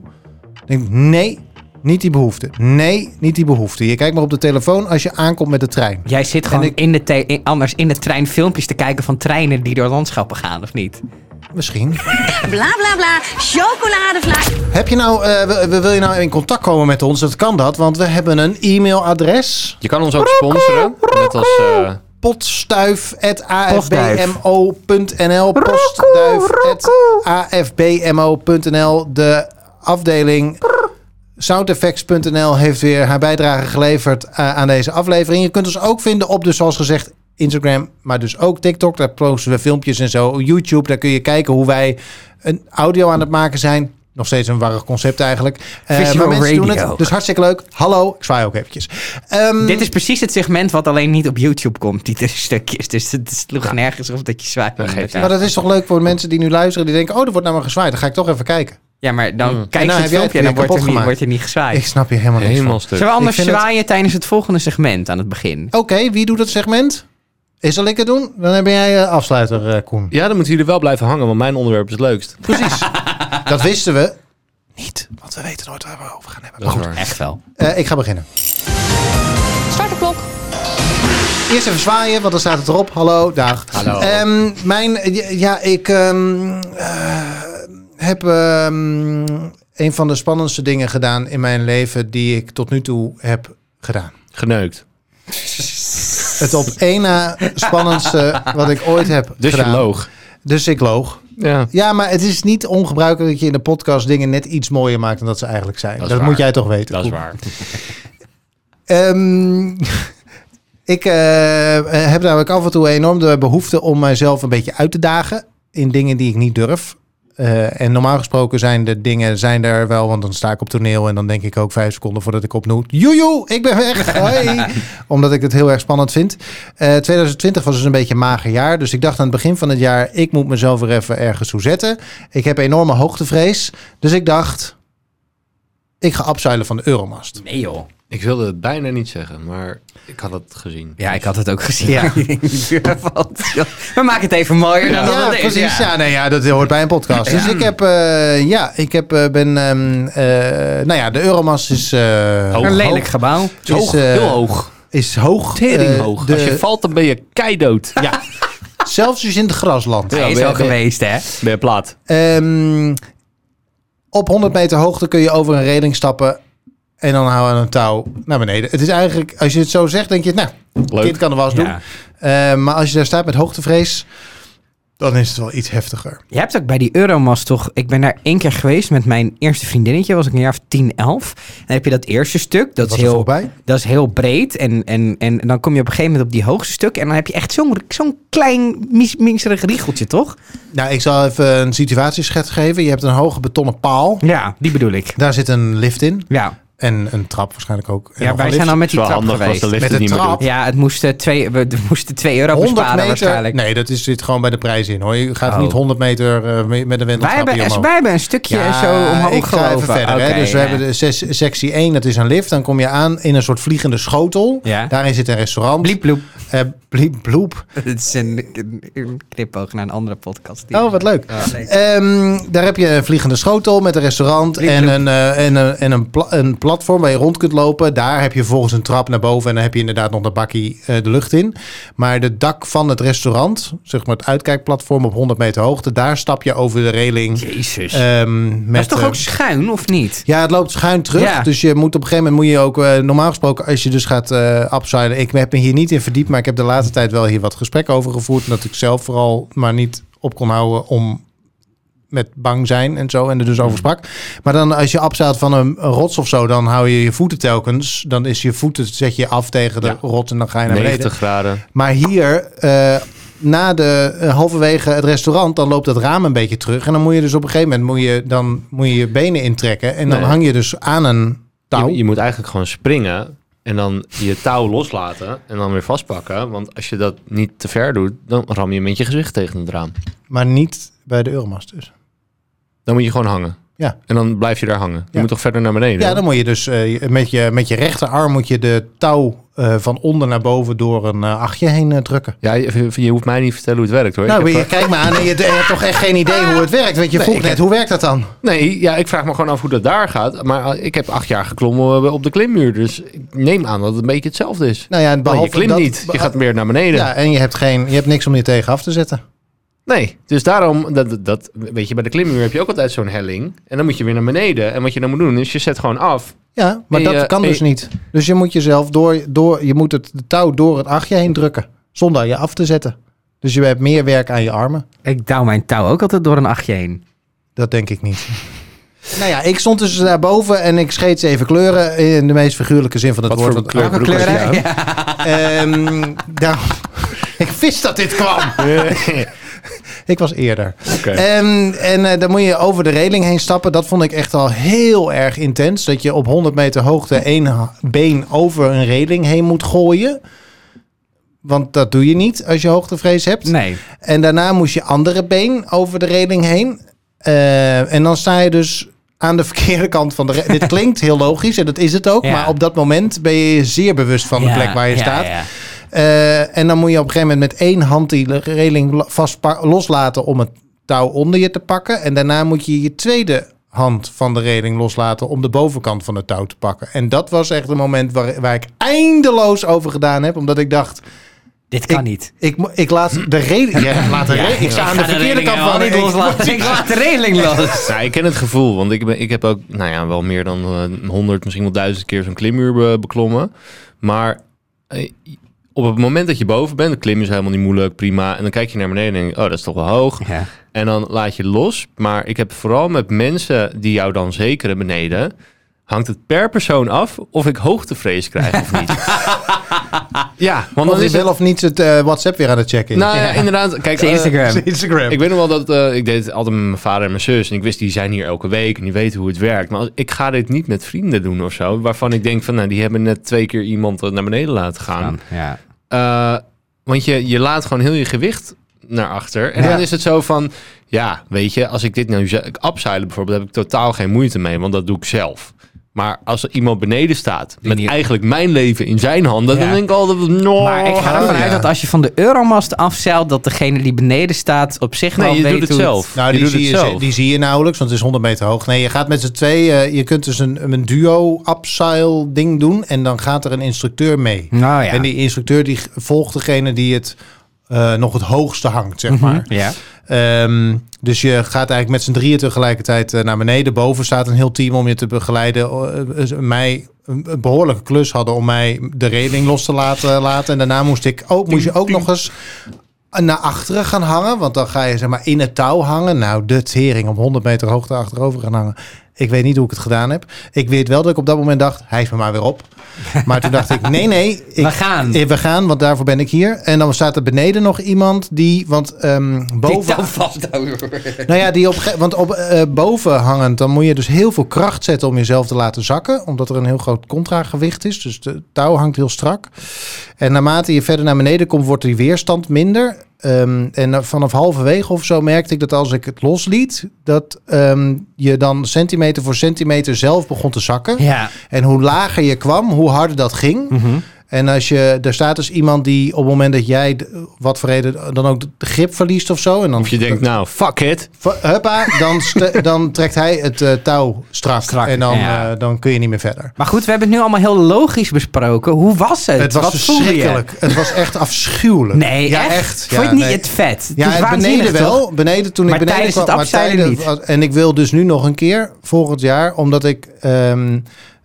Ik denk, nee, niet die behoefte. Nee, niet die behoefte. Je kijkt maar op de telefoon als je aankomt met de trein.
Jij zit gewoon
ik-
in de te- in- anders in de trein filmpjes te kijken van treinen die door landschappen gaan, of niet?
Mm. Misschien.
Bla bla bla, chocoladevla.
Heb je nou, eh, wil- wil je nou in contact komen met ons? Dat kan dat, want we hebben een e-mailadres.
Je kan ons ook sponsoren. Net als... eh,
Potstuif.afbmo.nl Postduif.afbmo.nl De afdeling soundeffects.nl heeft weer haar bijdrage geleverd eh, aan deze aflevering. Je kunt ons ook vinden op, dus zoals gezegd, Instagram, maar dus ook TikTok. Daar posten we filmpjes en zo. YouTube, daar kun je kijken hoe wij een audio aan het maken zijn. Nog steeds een warrig concept eigenlijk. Eh,
Visual
maar mensen doen
radio.
het, dus hartstikke leuk. Hallo, ik zwaai ook eventjes. Ehm,
Dit is precies het segment wat alleen niet op YouTube komt, die tussen stukjes. Dus het sloeg nergens op dat je zwaait.
geeft
Ja.
Maar dat is toch leuk voor mensen die nu luisteren. Die denken, oh, er wordt naar me gezwaaid. Dan ga ik toch even kijken.
Ja, maar dan kijk
En
je het
nou heb jij het
filmpje en dan
weer
wordt er,
kapot
niet,
gemaakt.
wordt er niet
Ik
gezwaaid.
snap hier helemaal niks
<laughs> helemaal
van.
stuk.
Zullen we anders
Ik vind het-
zwaaien tijdens het volgende segment aan het begin?
Oké, wie doet dat segment? Is dat ik het doen? Dan heb jij eh, afsluiter, eh, Koen.
Ja, dan moeten jullie wel blijven hangen, want mijn onderwerp is het leukst.
Precies. dat wisten we niet. Want we weten nooit waar we over gaan hebben. Maar goed,
Echt wel.
eh, ik ga beginnen.
Start de klok.
Eerst even zwaaien, want dan staat het erop. Hallo, dag.
Hallo.
Ehm, mijn, ja, ik ehm, eh, heb ehm, een van de spannendste dingen gedaan in mijn leven die ik tot nu toe heb gedaan.
Geneukt.
Het op één na spannendste wat ik ooit heb
Dus
gedaan.
je loog.
Dus ik loog.
Ja.
Ja, maar het is niet ongebruikelijk dat je in de podcast dingen net iets mooier maakt dan dat ze eigenlijk zijn.
Dat
Dat,
is waar.
moet jij toch weten.
Dat is
Koen.
waar.
Ehm, ik eh, heb namelijk af en toe enorm de behoefte om mijzelf een beetje uit te dagen in dingen die ik niet durf. eh, en normaal gesproken zijn de dingen zijn er wel, want dan sta ik op toneel en dan denk ik ook vijf seconden voordat ik opnoem. Joejoe, ik ben weg. Hoi. Omdat ik het heel erg spannend vind. Eh, 2020 was dus een beetje een mager jaar. Dus ik dacht aan het begin van het jaar, ik moet mezelf weer even ergens toe zetten. Ik heb enorme hoogtevrees. Dus ik dacht, ik ga afzuilen van de Euromast.
Nee joh.
Ik wilde het bijna niet zeggen, maar ik had het gezien.
Ja, ik had het ook gezien. <laughs>
Ja.
We maken het even mooier dan
Ja,
dat het is.
precies.
Ja.
Ja, nee, ja, dat hoort bij een podcast. Dus ik heb, eh, ja, ik heb, eh, ben, ehm, eh, nou ja, de Euromast is eh,
Een lelijk
hoog.
gebouw.
Is, eh,
hoog.
Is hoog. eh,
Teringhoog.
de-
Als je valt, dan ben je keidood. Ja,
Zelfs dus in het grasland.
Hij is
ben-
al
ben-
geweest, hè?
ben je plaat.
Ehm, op 100 meter hoogte kun je over een reling stappen. En dan houden we een touw naar beneden. Het is eigenlijk, als je het zo zegt, denk je, nou,
Leuk.
kind kan er wel eens doen.
Ja.
Eh, maar als je daar staat met hoogtevrees, dan is het wel iets heftiger.
Je hebt ook bij die Euromast toch... Ik ben daar één keer geweest met mijn eerste vriendinnetje. was ik een jaar of 10, 11. En dan heb je dat eerste stuk. Dat,
was
is
er
heel,
voorbij.
dat is heel breed. En, en, en dan kom je op een gegeven moment op die hoogste stuk. En dan heb je echt zo'n zo'n klein, mis- minserig riegeltje, toch?
Nou, ik zal even een situatieschets geven. Je hebt een hoge betonnen paal.
Ja, die bedoel ik.
Daar zit een lift in.
Ja,
En een trap waarschijnlijk ook. En
ja
nog
wij
een
zijn
lift.
al met
Het is
die
wel
trap
handig als
geweest.
de lift
Met
het
de
niet meer
trap.
doet.
Ja, het moest eh, twee, we we moesten 2 euro besparen waarschijnlijk.
Nee, dat is, zit gewoon bij de prijs in hoor. Je gaat
Oh.
niet 100 meter eh, mee- met
Wij
een wenteltrap
hebben,
hier omhoog.
wij hebben een stukje zo omhoog
ik ga even
gelopen.
verder. hè.
Oké,
Dus we
ja.
hebben de ses- sectie 1, dat is een lift. Dan kom je aan in een soort vliegende schotel.
Ja.
Daarin zit een restaurant.
Bliep, bloep. <laughs>
Eh, bliep, bloep.
Het is een, een, een knipoog naar een andere podcast.
Oh, wat leuk. Ehm, daar heb je een vliegende schotel met een restaurant
Bliep,
en,
bloep.
een, eh, en, een, en een, pla- een platform waar je rond kunt lopen. Daar heb je volgens een trap naar boven en dan heb je inderdaad nog de bakkie eh, de lucht in. Maar de dak van het restaurant, zeg maar het uitkijkplatform op 100 meter hoogte, daar stap je over de reling.
Jezus.
ehm,
dat is
met,
toch
eh,
ook schuin, of niet?
Ja, het loopt schuin terug.
Ja.
Dus je moet op een gegeven moment moet je ook, eh, normaal gesproken, als je dus gaat eh upsiden. Ik heb me hier niet in verdiept, maar ik heb de laatste tijd wel hier wat gesprekken over gevoerd. Omdat ik zelf vooral maar niet op kon houden om met bang zijn en zo. En er dus over sprak. Maar dan als je upside van een, een rots of zo, dan hou je je voeten telkens. Dan is je voeten, zet je af tegen de
Ja.
rots en dan ga je naar beneden.
90 graden.
Maar hier, eh, na de, eh, halverwege het restaurant, dan loopt dat raam een beetje terug. En dan moet je dus op een gegeven moment moet je, dan moet je, je benen intrekken. En dan
Nee.
hang je dus aan een touw.
Je, je moet eigenlijk gewoon springen en dan je touw loslaten en dan weer vastpakken. Want als je dat niet te ver doet, dan ram je met je gezicht tegen het raam.
Maar niet bij de Euromast dus.
Dan moet je gewoon hangen.
Ja.
En dan blijf je daar hangen. Je
Ja.
moet toch verder naar beneden?
Ja, dan moet je dus eh, met, je, met je rechterarm moet je de touw eh, van onder naar boven door een eh, achtje heen eh, drukken.
Ja, je, je hoeft mij niet te vertellen hoe het werkt hoor. Ik
Nou,
heb,
maar je kijkt me aan en je, je hebt toch echt geen idee hoe het werkt. Want je
Nee,
vroeg
ik
net,
heb-
hoe werkt dat dan?
eh, nee, ja, ik vraag me gewoon af hoe dat daar gaat. Maar eh, ik heb acht jaar geklommen eh, op de klimmuur. Dus ik neem aan dat het een beetje hetzelfde is.
Nou ja, en
Maar
behalve
Oh, je klimt
dat-
niet. Je gaat meer naar beneden.
Ja, en je hebt, geen, je hebt niks om je tegen af te zetten.
Nee, dus daarom, dat, dat- dat, weet je, bij de klimmuur heb je ook altijd zo'n helling. En dan moet je weer naar beneden. En wat je dan moet doen, is je zet gewoon af.
Ja, maar
En
dat
je-
kan
en
dus
je-
niet. Dus je moet jezelf door, door je moet het de touw door het achtje heen drukken. Zonder je af te zetten. Dus je hebt meer werk aan je armen.
Ik douw mijn touw ook altijd door een achtje heen.
Dat denk ik niet. nou ja, ik stond dus daarboven en ik scheet ze even kleuren. In de meest figuurlijke zin van het
Wat
woord.
voor
want-
kleur?
Welke
broek was
kleuren?
die
Ja.
Ehm, daar- ik wist dat dit kwam. <laughs> ik was eerder. Ehm, en eh, dan moet je over de reling heen stappen. Dat vond ik echt al heel erg intens. Dat je op 100 meter hoogte één ha- been over een reling heen moet gooien. Want dat doe je niet als je hoogtevrees hebt.
Nee.
En daarna moest je andere been over de reling heen. Eh, en dan sta je dus aan de verkeerde kant van de reling. <laughs> Dit klinkt heel logisch en dat is het ook.
Ja.
Maar op dat moment ben je je zeer bewust van de
Ja,
plek waar je
ja,
staat.
ja.
Eh, en dan moet je op een gegeven moment met één hand die reling la- vastpa- loslaten om het touw onder je te pakken. En daarna moet je je tweede hand van de reling loslaten om de bovenkant van het touw te pakken. En dat was echt een moment waar, waar ik eindeloos over gedaan heb, omdat ik dacht,
Dit kan niet.
ik, mo- ik laat
<clears throat>
de reling... Ja, laat de reling- ik sta aan de verkeerde kant van
Ik, laat, ik laat de reling los.
<laughs> Nou, ik ken het gevoel, want ik, ben, ik heb ook nou ja, wel meer dan eh, honderd, misschien wel duizend keer zo'n klimmuur be- beklommen. Maar eh, op het moment dat je boven bent, de klim is helemaal niet moeilijk, prima. En dan kijk je naar beneden en denk je, oh, dat is toch wel hoog.
Ja.
En dan laat je los. Maar ik heb vooral met mensen die jou dan zekeren beneden. hangt het per persoon af of ik hoogtevrees krijg of <laughs> niet. ja, want
Of
dan
is
is het...
wel of niet het eh, WhatsApp weer aan het checken is.
Nou ja, inderdaad. Kijk,
Zijn
eh,
Instagram.
Instagram.
ik weet nog wel dat eh, ik deed het altijd met mijn vader en mijn zus. En ik wist, die zijn hier elke week en die weten hoe het werkt. Maar als- ik ga dit niet met vrienden doen of zo. Waarvan ik denk van, nou, die hebben net twee keer iemand eh, naar beneden laten gaan.
Ja.
Eh, want je, je laat gewoon heel je gewicht naar achter. En
Ja.
dan is het zo van, ja, weet je, als ik dit nou ze- Abseilen bijvoorbeeld, heb ik totaal geen moeite mee, want dat doe ik zelf. Maar als er iemand beneden staat, met
niet.
eigenlijk mijn leven in zijn handen,
Ja.
dan denk ik altijd, no.
Maar ik ga ervan
ja.
uit dat als je van de Euromast afzeilt, dat degene die beneden staat op zich
Nee,
wel
je
weet
doet het
hoe
zelf.
Nou,
je
die,
doet het
zie je,
zelf.
die zie je nauwelijks, want het is 100 meter hoog. Nee, je gaat met z'n twee, eh, je kunt dus een, een duo upsile ding doen en dan gaat er een instructeur mee.
Nou ja.
En die instructeur die g- volgt degene die het eh, nog het hoogste hangt,
Mhm.
zeg maar.
Ja.
Ehm, dus je gaat eigenlijk met z'n drieën tegelijkertijd eh, naar beneden. Boven staat een heel team om je te begeleiden. Eh, eh, mij een een behoorlijke klus hadden om mij de reling los te laten. laten. En daarna moest ik ook, moest je ook nog eens naar achteren gaan hangen. Want dan ga je zeg maar in het touw hangen. Nou, de tering op 100 meter hoogte achterover gaan hangen. Ik weet niet hoe ik het gedaan heb. Ik weet wel dat ik op dat moment dacht, hij is me maar weer op. Maar toen dacht ik, nee, nee. Ik,
We gaan.
eh, We gaan, want daarvoor ben ik hier. En dan staat er beneden nog iemand die, want ehm,
Die
boven...
touw vasthouden.
Nou ja, die op, ge- want op, eh, boven hangend, dan moet je dus heel veel kracht zetten om jezelf te laten zakken. Omdat er een heel groot contragewicht is. Dus de touw hangt heel strak. En naarmate je verder naar beneden komt, wordt die weerstand minder. Ehm, en eh, vanaf halverwege of zo merkte ik dat als ik het losliet, dat ehm, je dan centimeter voor centimeter zelf begon te zakken.
Ja.
En hoe lager je kwam, hoe harder dat ging.
Mhm.
En als je, er staat dus iemand die op het moment dat jij, d- wat voor reden dan ook, de grip verliest of zo. En dan
Of je denkt, nou, fuck it.
Va- Huppa,
<laughs>
dan, st- dan trekt hij het eh, touw strak.
Strak,
en dan,
ja.
eh, dan kun je niet meer verder.
Maar goed, we hebben het nu allemaal heel logisch besproken. Hoe was het?
Het was
Wat voelde je?
verschrikkelijk. Het was echt afschuwelijk.
Nee,
ja,
echt?
echt.
Vond je
Ja,
het niet
nee.
het vet?
Ja,
het is
het
waanzinnig,
beneden
toch?
wel. Beneden toen
Maar
ik beneden
tijdens
kwam.
het afzeilen
was- En ik wil dus nu nog een keer volgend jaar, omdat ik ehm,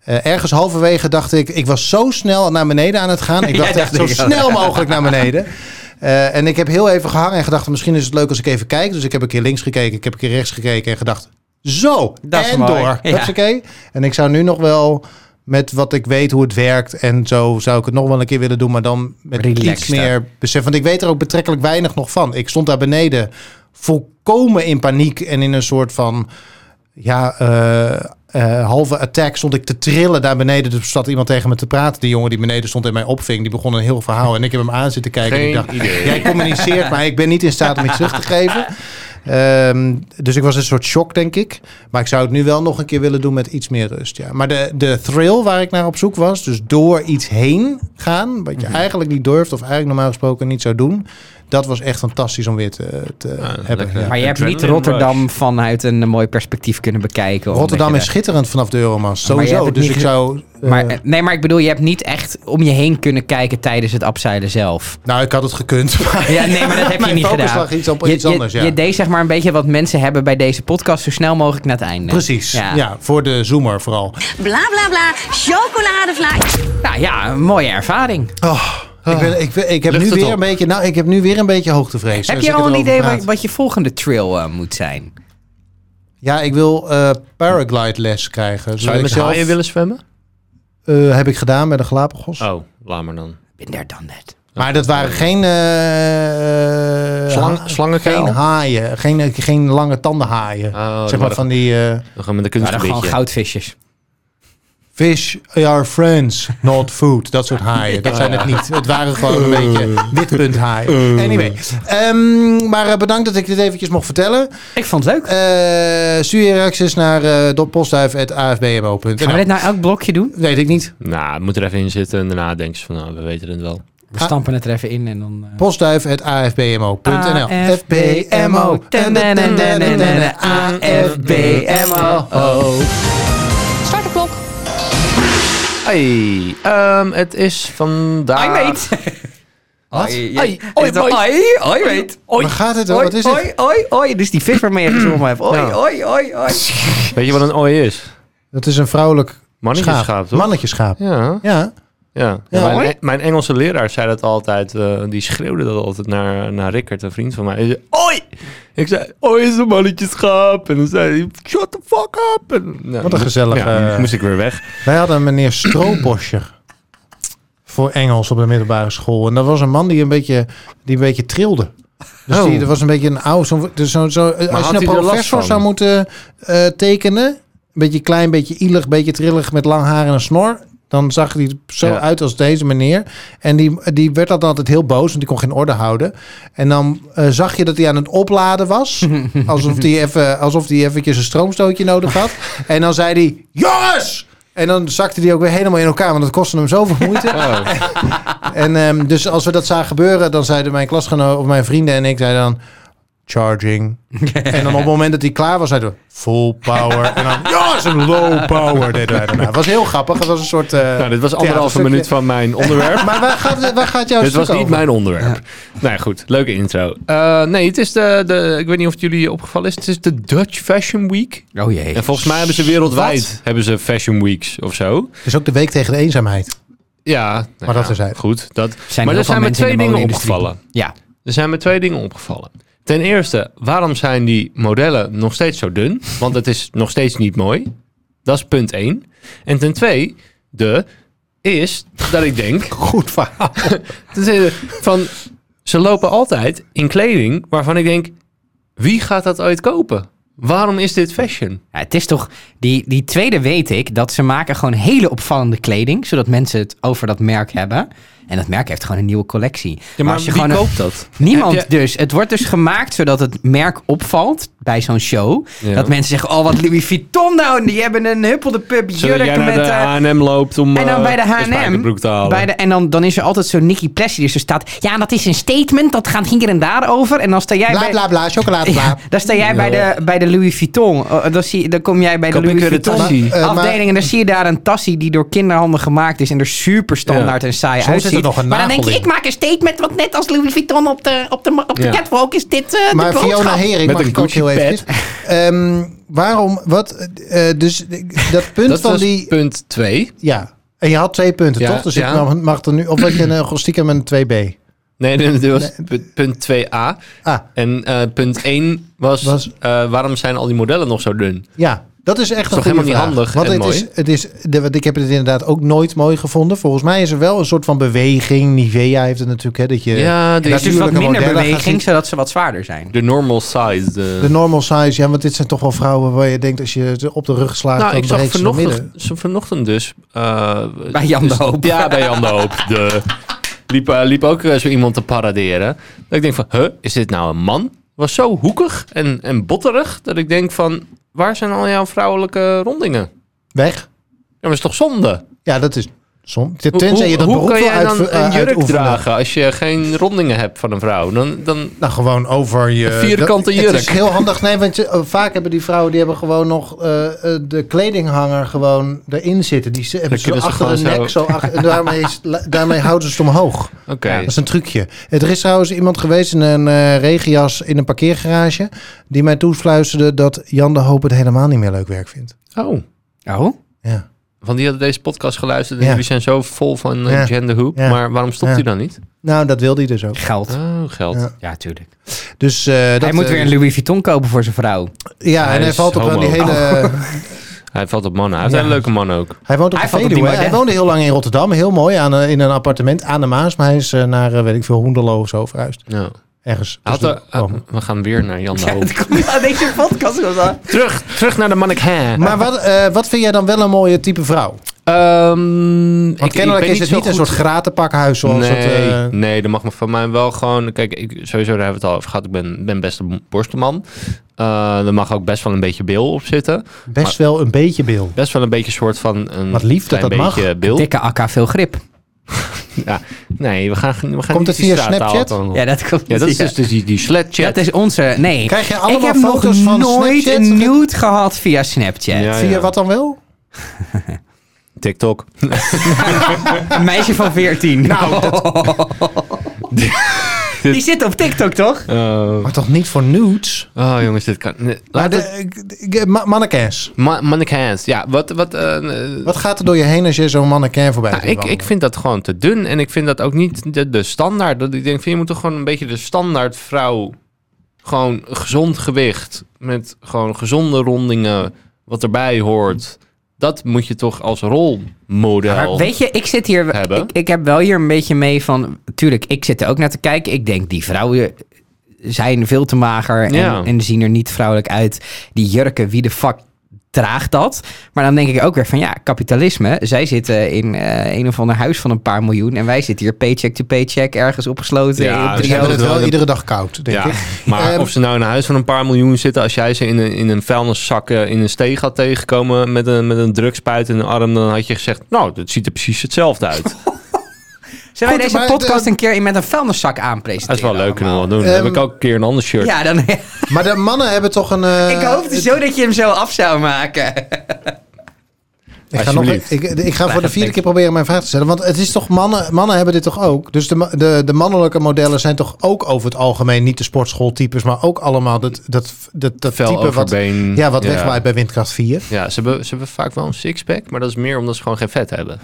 eh, ergens halverwege dacht ik, ik was zo snel naar beneden aan het
<laughs>
gaan. Ik dacht echt
dacht
zo
ik ook.
snel mogelijk naar beneden. Eh, en ik heb heel even gehangen en gedacht, misschien is het leuk als ik even kijk. Dus ik heb een keer links gekeken, ik heb een keer rechts gekeken en gedacht, zo,
Dat is
en
mooi.
door.
Ja.
Hupsakee. En ik zou nu nog wel met wat ik weet hoe het werkt en zo zou ik het nog wel een keer willen doen, maar dan met iets
Relaxter.
meer besef. Want ik weet er ook betrekkelijk weinig nog van. Ik stond daar beneden volkomen in paniek en in een soort van ja, eh, eh, halve attack stond ik te trillen daar beneden. Dus zat iemand tegen me te praten. Die jongen die beneden stond en mij opving, die begon een heel verhaal. En ik heb hem aan zitten kijken en ik
Geen
dacht,
idee.
jij communiceert, maar ik ben niet in staat om iets terug te geven.
<laughs>
Ehm, dus ik was een soort shock, denk ik. Maar ik zou het nu wel nog een keer willen doen met iets meer rust. Ja. Maar de, de thrill waar ik naar op zoek was, dus door iets heen gaan, wat je
Mhm.
eigenlijk niet durft of eigenlijk normaal gesproken niet zou doen, dat was echt fantastisch om weer te, te hebben.
lekker.
ja.
Maar je hebt niet
Adrenaline
Rotterdam vanuit een eh, mooi perspectief kunnen bekijken. omdat
Rotterdam
je
is
er-
schitterend vanaf de Euromast,
Maar je hebt
sowieso.
het
Dus
niet
ik
ge-
zou... eh,
Maar, eh, nee, maar ik bedoel, je hebt niet echt om je heen kunnen kijken tijdens het abseilen zelf.
nou, ik had het gekund. <laughs>
<laughs>
maar-
Ja, nee, maar dat heb je
Mijn
niet
focus
gedaan.
lag iets op
je,
iets
je-
anders, ja.
je deed zeg maar een beetje wat mensen hebben bij deze podcast, zo snel mogelijk naar het einde.
Precies, ja.
Ja.
voor de zoomer vooral.
Bla bla bla, chocoladevla.
Nou ja, een mooie ervaring.
Oh,
Ah.
ik, ben, ik, ben- ik, heb
Lucht
nu
het
weer
op.
een beetje, nou, ik heb nu weer een beetje hoogtevrees.
heb
als
je
ik
al een
erover
idee
praat.
wat, wat je volgende trail eh, moet zijn?
Ja, ik wil eh paraglide les krijgen.
Zou
Zodat
je
ik
met
zelf,
haaien willen zwemmen?
eh, heb ik gedaan bij de Galapagos.
Oh, laat maar dan.
Ik ben daar dan net.
Ah. Maar dat waren geen... eh,
Slang-
ha-
slangenkuil?
Geen haaien. Geen, eh, geen lange tandenhaaien.
Oh,
zeg maar
maar-
van die... eh,
We gaan met
Maar
een
Nou, dan gewoon
kunstgebiedje.
goudvisjes.
Fish are friends, not food. Dat soort haaien. Dat zijn het niet. Het waren gewoon een beetje witpunt haaien. Anyway. Ehm, maar eh, bedankt dat ik dit eventjes mocht vertellen.
Ik vond het leuk.
Eh, stuur je reacties naar eh
Gaan we
postduif.afbmo.nl
dit nou elk blokje doen?
Weet ik niet.
Nou, het moet er even in zitten en daarna denk je van, nou, we weten het wel.
We stampen het er even in en dan... eh,
Postduif.afbmo.nl
AFBMO. Oh.
AFBMO.
Start de klok.
Hey, ehm, het is vandaag...
I <laughs> mate.
Wat?
Oi,
Ai, oi, boy.
oi, oi, weet. Oi.
Waar gaat het over? Wat is
Oi,
het?
oi, oi. Dus die vis waarmee je gezongen hebt. Oi,
Nou.
oi, oi, oi.
Weet je wat een ooi is?
Dat is een vrouwelijk
Mannetjeschaap,
schaap.
toch?
Mannetjeschaap.
Ja.
Ja.
Ja.
Ja,
mijn,
hoor.
Eng- mijn Engelse leraar zei dat altijd. eh, die schreeuwde dat altijd naar, naar Rickert, een vriend van mij. Hij zei, Oi! Ik zei, oi is een mannetjeschap. En dan zei hij, shut the fuck up. En, nou,
Wat een gezellige-
ja, moest ik weer weg. Nou,
Wij hadden meneer Strooboscher voor Engels op de middelbare school. En dat was een man die een beetje, die een beetje trilde. Dus
Oh.
die, dat was een beetje een oud... Zo, dus zo, zo, als
had
je een
hij er last
professor
van?
zou moeten eh, tekenen... een beetje klein, beetje ielig, beetje trillig met lang haar en een snor... dan zag hij er zo
Ja.
uit als deze meneer. En die, die werd dan altijd heel boos, want die kon geen orde houden. En dan eh, zag je dat hij aan het opladen was. alsof hij even, alsof hij eventjes een stroomstootje nodig had. En dan zei hij, jongens! En dan zakte hij ook weer helemaal in elkaar, want dat kostte hem zoveel moeite. <laughs> En ehm, dus als we dat zagen gebeuren, dan zeiden mijn klasgenoten of mijn vrienden en ik zeiden dan
<laughs>
charging. en dan op het moment dat hij klaar was, zeiden we full power. en dan jongens, een low power deden wij daarna. Het was heel grappig. Het was een soort. eh,
Nou, dit was anderhalve
theaterstukje.
minuut van mijn
<laughs>
onderwerp.
Maar waar gaat, waar gaat jouw
Dit was
stuk
niet
over?
mijn onderwerp. Nou Oh, ja, goed, leuke intro. Eh, nee, het is de, de. Ik weet niet of het jullie opgevallen is. Het is de Dutch Fashion Week.
Oh jee.
En volgens mij hebben ze wereldwijd hebben ze Fashion Weeks of zo.
Het is ook de week tegen de eenzaamheid.
Ja, nou
Maar dat terzijde.
Goed, dat.
Zijn heel
maar er
veel
zijn
mensen
me
in
twee
de
dingen
mode-industrie.
opgevallen.
Ja.
Er zijn me twee dingen opgevallen. Ten eerste, waarom zijn die modellen nog steeds zo dun? Want het is nog steeds niet mooi. Dat is punt één. En ten tweede, is dat ik denk...
Goed verhaal.
<laughs> ten tweede, van, ze lopen altijd in kleding waarvan ik denk... Wie gaat dat ooit kopen? Waarom is dit fashion?
Ja, het is toch, die, die tweede weet ik, dat ze maken gewoon hele opvallende kleding, zodat mensen het over dat merk hebben. En dat merk heeft gewoon een nieuwe collectie.
maar
als je
wie
gewoon een-
koopt dat?
Niemand
Heb je-
dus. Het wordt dus gemaakt zodat het merk opvalt bij zo'n show.
Ja.
Dat mensen zeggen, oh wat Louis Vuitton nou, die hebben een huppelde pub
Zodat
jurk
jij naar
met... eh,
de H&M loopt om
en dan
eh,
bij de
een
H&M,
spijkerbroek te halen.
bij de- en dan, dan is er altijd zo'n Nicky Plessy die er staat. Ja, dat is een statement, dat gaat hier en daar over. En dan sta jij
Bla
bij...
bla bla, chocolade bla.
Ja, daar sta jij bij, de, bij de Louis Vuitton. Oh, dan, zie, dan kom jij bij de
Koop ik
Louis
weer de
Vuitton
tassie?
Maar, eh,
afdeling en dan zie je daar een tassie die door kinderhanden gemaakt is en er super standaard
Ja.
en saai
Soms zit er
uitziet.
nog een
maar dan denk je,
nagel in.
ik maak een statement, want net als Louis Vuitton op de, op de, op de
Ja.
catwalk is dit eh,
Maar
de boodschap.
Fiona Hering,
Met
mag
een
ik ook heel
Gucci-pet.
even. Ehm, waarom, wat, eh, dus dat punt
Dat
van
was
die...
punt twee.
Ja. En je had twee punten,
Ja,
toch? Dus
ja.
ik mag- mag er nu... Of dat je een eh, stiekem een 2B.
Nee, nee, dit was pu- punt 2a.
Ah,
En eh, punt 1 was,
Was-
eh, waarom zijn al die modellen nog zo dun?
ja. Dat is echt
toch
een goede
helemaal niet
vraag.
handig
Want
en
het
mooi?
is, het is, de, want ik heb het inderdaad ook nooit mooi gevonden. Volgens mij is er wel een soort van beweging. Nivea heeft het natuurlijk, hè, dat je
Ja, de,
Dus
is
dus wat
natuurlijke
minder
modellen gaat zien.
beweging, zodat ze wat zwaarder zijn.
de normal size. eh. de-
de normal size. Ja, want dit zijn toch wel vrouwen waar je denkt als je ze op de rug slaat,
nou,
dan
ik zag
breekt ze naar
vanochtend,
midden.
zo vanochtend dus... eh,
Bij Jan
dus-
de Hoop.
Ja, bij Jan de Hoop. De, liep, eh, liep ook eh, zo iemand te paraderen. Dat ik denk van, huh, is dit nou een man? Was zo hoekig en, en botterig dat ik denk van... Waar zijn al jouw vrouwelijke rondingen?
Weg.
Ja, maar is toch zonde?
Ja, dat is soms.
Hoe-
Tenzij je dat
hoe,
beroep
hoe kan
wil
jij dan
uitvo- eh,
een jurk
uitoefenen.
dragen als je geen rondingen hebt van een vrouw? Dan, dan,
Nou, gewoon over je...
Een vierkante
dat- Het
jurk.
is <laughs> heel handig. Nee, want je- eh, vaak hebben die vrouwen... die hebben gewoon nog eh, eh, de kledinghanger gewoon erin zitten. Die ze, hebben ze
kunnen ze
achter hun
dus gewoon
nek.
zo-
Zo achter, en daarmee, is-
<laughs>
la- daarmee houden ze het omhoog.
Oké.
Ja, dat is een trucje. Er is trouwens iemand geweest in een eh, regenjas in een parkeergarage... die mij toefluisterde dat Jan de Hoop het helemaal niet meer leuk werk vindt.
Oh.
Oh?
Ja.
Want die hadden deze podcast geluisterd en
Ja.
jullie zijn zo vol van
Ja.
eh, genderhoek.
Ja.
Maar waarom stopt
Ja.
hij dan niet?
Nou, dat wilde hij dus ook.
Geld.
Oh, geld.
Ja.
Ja, tuurlijk.
Dus, eh, dat,
Hij moet
eh,
weer een Louis Vuitton kopen voor zijn vrouw.
Ja,
Hij
en hij
is
valt op aan die hele...
homo. Oh. Hij valt op mannen. Hij
Ja.
heeft een leuke man ook.
Hij woont op
Hij
de
valt op die
Veluwe.
markt,
Hij
hè?
woonde heel lang in Rotterdam. Heel mooi aan, een- in een appartement aan de Maas. Maar hij is eh, naar, eh, weet ik veel, Hoenderlo of zo verhuisd.
Ja.
Ergens.
Hij Had
Dus
er- eh,
dat kwam.
we oh. gaan weer naar Jan de Hoop.
Het komt aan deze podcast gewoon aan.
terug, terug naar de mannek. hè.
maar wat, eh, wat vind jij dan wel een mooie type vrouw?
Ehm, ik- ik
Want kennelijk
ben
is het
zo
niet een
goed-
soort gratenpakhuis. Zoals
nee,
dat, eh,
nee, dat mag me van mij wel gewoon. Kijk, ik, sowieso daar hebben we het al over gehad. Ik ben, ben best een borstelman. Eh er mag ook best wel een beetje bil op zitten.
best
maar-
wel een beetje bil.
Best wel een beetje soort van een
Wat lief dat
klein
dat
beetje
mag.
bil.
Dikke akka, veel grip.
Ja, nee, we gaan, we gaan
Komt
niet
het
die
via
straattaal
Snapchat?
dan-
Ja, dat komt
Ja, dat is dus die, die, die
Dat
Snapchat.
is onze... Nee.
Krijg je
Ik
allemaal
heb nog
foto's van
nooit
Snapchat?
een nude gehad via Snapchat.
Ja,
Via wat dan wel?
<laughs> TikTok.
Een meisje van 14. Nou, <laughs> Die zit op TikTok, toch?
Oh.
Maar toch niet voor nudes?
Oh, jongens, dit kan... nee,
Maar
Laat
de,
het...
ik- ma- mannequins.
Ma- mannequins. Ja, wat... wat, eh, eh,
Wat gaat er door je heen als je zo'n mannequin voorbij
nou,
ziet
ik, ik
wandelen?
vind dat gewoon te dun. En ik vind dat ook niet de, de standaard. Dat ik denk, van, je moet toch gewoon een beetje de standaard vrouw... Gewoon gezond gewicht. Met gewoon gezonde rondingen. Wat erbij hoort. Dat moet je toch als rolmodel...
Maar weet je, ik zit hier.
Hebben.
Ik, ik heb wel hier een beetje mee van. Tuurlijk, ik zit er ook naar te kijken. Ik denk, die vrouwen zijn veel te mager en,
Ja.
en zien er niet vrouwelijk uit. Die jurken, wie de fuck draagt dat? Maar dan denk ik ook weer van ja, kapitalisme. Zij zitten in eh, een of ander huis van een paar miljoen. En wij zitten hier paycheck to paycheck ergens opgesloten.
Ja,
in
dus
Ze
drie
hebben het
hoog-
wel iedere dag koud, denk
ja,
ik.
<laughs> maar
Ehm,
of ze nou in een huis van een paar miljoen zitten, als jij ze in een, in een vuilniszak eh, in een steeg had tegengekomen met een, met een drugspuit in de arm, dan had je gezegd, nou, dat ziet er precies hetzelfde
<laughs>
uit.
Zullen wij
Goed,
deze
maar eh,
podcast
de-
een keer met een vuilniszak aanpresenteren?
Dat is wel leuk, kunnen we
allemaal?
wel doen. Dan
Ehm,
heb ik ook een keer een ander shirt.
Ja, dan,
<laughs>
Maar de mannen hebben toch een... eh,
ik hoopte zo dat je hem zo af zou maken.
Ik ga, nog, ik,
Alsjeblieft.
ik ga voor de vierde keer proberen mijn vraag te stellen. Want het is toch mannen, mannen hebben dit toch ook? Dus de, ma- de, de mannelijke modellen zijn toch ook over het algemeen niet de sportschooltypes, maar ook allemaal dat, dat, dat, dat
Vel
type wat,
overbeen.
ja, wat
Ja.
wegwaait bij windkracht 4.
Ja, ze hebben, ze hebben vaak wel een sixpack, maar dat is meer omdat ze gewoon geen vet hebben.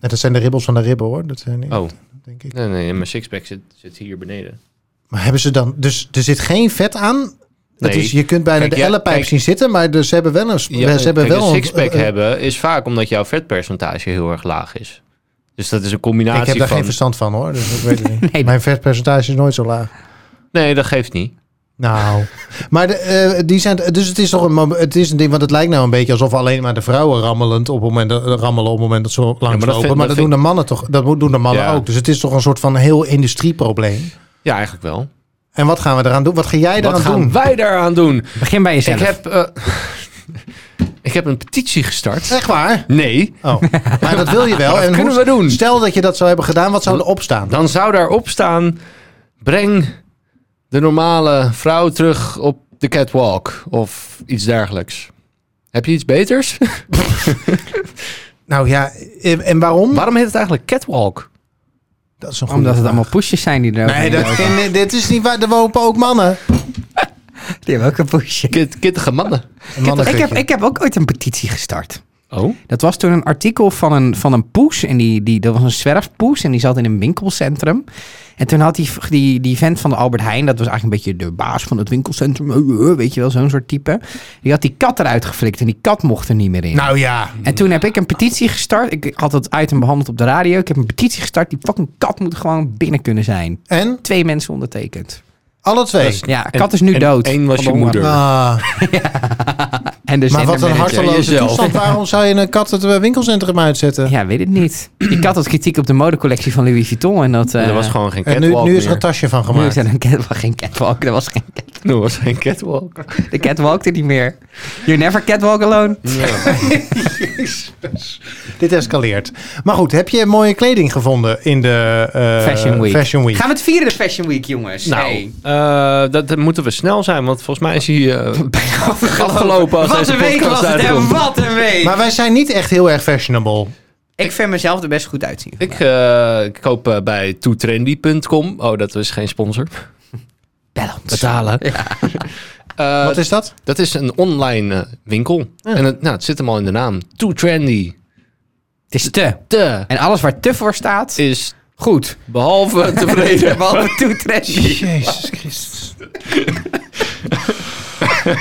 En dat zijn de ribbels van de ribben hoor. Dat zijn niet,
Oh,
denk ik.
nee, nee, mijn sixpack zit, zit hier beneden.
Maar hebben ze dan... Dus er zit geen vet aan. Dat
Nee.
is, je kunt bijna
Kijk,
de
ja,
ellepijp
kijk.
zien zitten, maar dus ze hebben wel een... sp-
Ja,
ze hebben
kijk,
wel
een
een
sixpack
eh, eh,
hebben is vaak omdat jouw vetpercentage heel erg laag is. Dus dat is een combinatie
Ik heb daar
van...
geen verstand van hoor, dus ik weet het
<laughs>
niet.
Nee.
Mijn vetpercentage is nooit zo laag.
nee, dat geeft niet.
Nou, maar de, eh, die zijn, dus het is toch een, mom- het is een ding, want het lijkt nou een beetje alsof alleen maar de vrouwen rammelend op het moment, dat- rammelen op het moment dat ze langs
dat
lopen.
vind-
maar dat,
dat
doen
vind-
de mannen toch, dat moet- doen de mannen
Ja.
ook. Dus het is toch een soort van heel industrieprobleem.
Ja, eigenlijk wel.
En wat gaan we eraan doen? Wat ga jij
Wat
eraan
gaan
doen?
wij daaraan doen?
Begin bij jezelf.
Ik heb, eh, <laughs> ik heb een petitie gestart.
Echt waar?
Nee.
Oh, maar dat wil je wel. en
kunnen we doen?
Stel dat je dat zou hebben gedaan, wat zou er opstaan?
Dan zou daarop staan: breng de normale vrouw terug op de catwalk of iets dergelijks. Heb je iets beters? <laughs>
Nou ja, en, en waarom?
Waarom heet het eigenlijk catwalk?
Dat is een goede
Omdat het
vraag.
allemaal poesjes zijn die er
Nee, dat, en, eh, dit is niet waar. Er wonen ook mannen.
<laughs> Die hebben ook een poesje.
Kit, kittige mannen.
Mannen
Ik heb, ik heb ook ooit een petitie gestart.
Oh?
Dat was toen een artikel van een, van een poes. En die, die, dat was een zwerfpoes. En die zat in een winkelcentrum. En toen had die, die, die vent van de Albert Heijn. Dat was eigenlijk een beetje de baas van het winkelcentrum. eh, eh, Weet je wel, zo'n soort type. Die had die kat eruit geflikt. En die kat mocht er niet meer in.
Nou ja.
En toen heb ik een petitie gestart. Ik had het item behandeld op de radio. Ik heb een petitie gestart. Die fucking kat moet gewoon binnen kunnen zijn.
En?
Twee mensen ondertekend.
Alle twee.
Ja,
En-
kat is nu
en
dood.
één was
Van
je
de honger.
moeder.
Ah.
En de
Maar wat een
zendermanager.
harteloze
<laughs>
Jezelf.
toestand. Waarom zou je een kat het eh, winkelcentrum uitzetten?
Ja, weet het niet. Ik had wat kritiek op de modecollectie van Louis Vuitton. En dat, eh
er was gewoon geen
En
catwalk.
nu, nu is er
meer.
een tasje van
nu is
gemaakt.
er een cat, er was geen catwalk. Er was geen,
<laughs> Er was geen catwalk.
de cat walkte niet meer. You never catwalk alone.
Dit escaleert. Maar goed, heb je mooie kleding gevonden in de eh,
Fashion Week.
Fashion Week?
Gaan we het vieren, de Fashion Week, jongens?
Nou,
Hey.
eh, dat, dat moeten we snel zijn, want volgens mij is hij eh, <laughs> afgelopen. als
Wat
deze
een week
podcast
was het, hè?
uitkomt.
Wat een week.
Maar wij zijn niet echt heel erg
Eh,
fashionable.
ik vind mezelf er best goed uitzien.
Ik eh, ik koop eh, bij toetrendy.com. Oh, dat is geen sponsor.
Balance.
Betalen. Eh,
Wat is dat?
<laughs>
dat is een online eh, winkel. En het, nou, het zit hem al in de naam. Too trendy.
Het is te.
Te
En alles waar te voor staat,
is
goed.
<laughs>
behalve tevreden.
Behalve toe trashy.
Jezus Christus.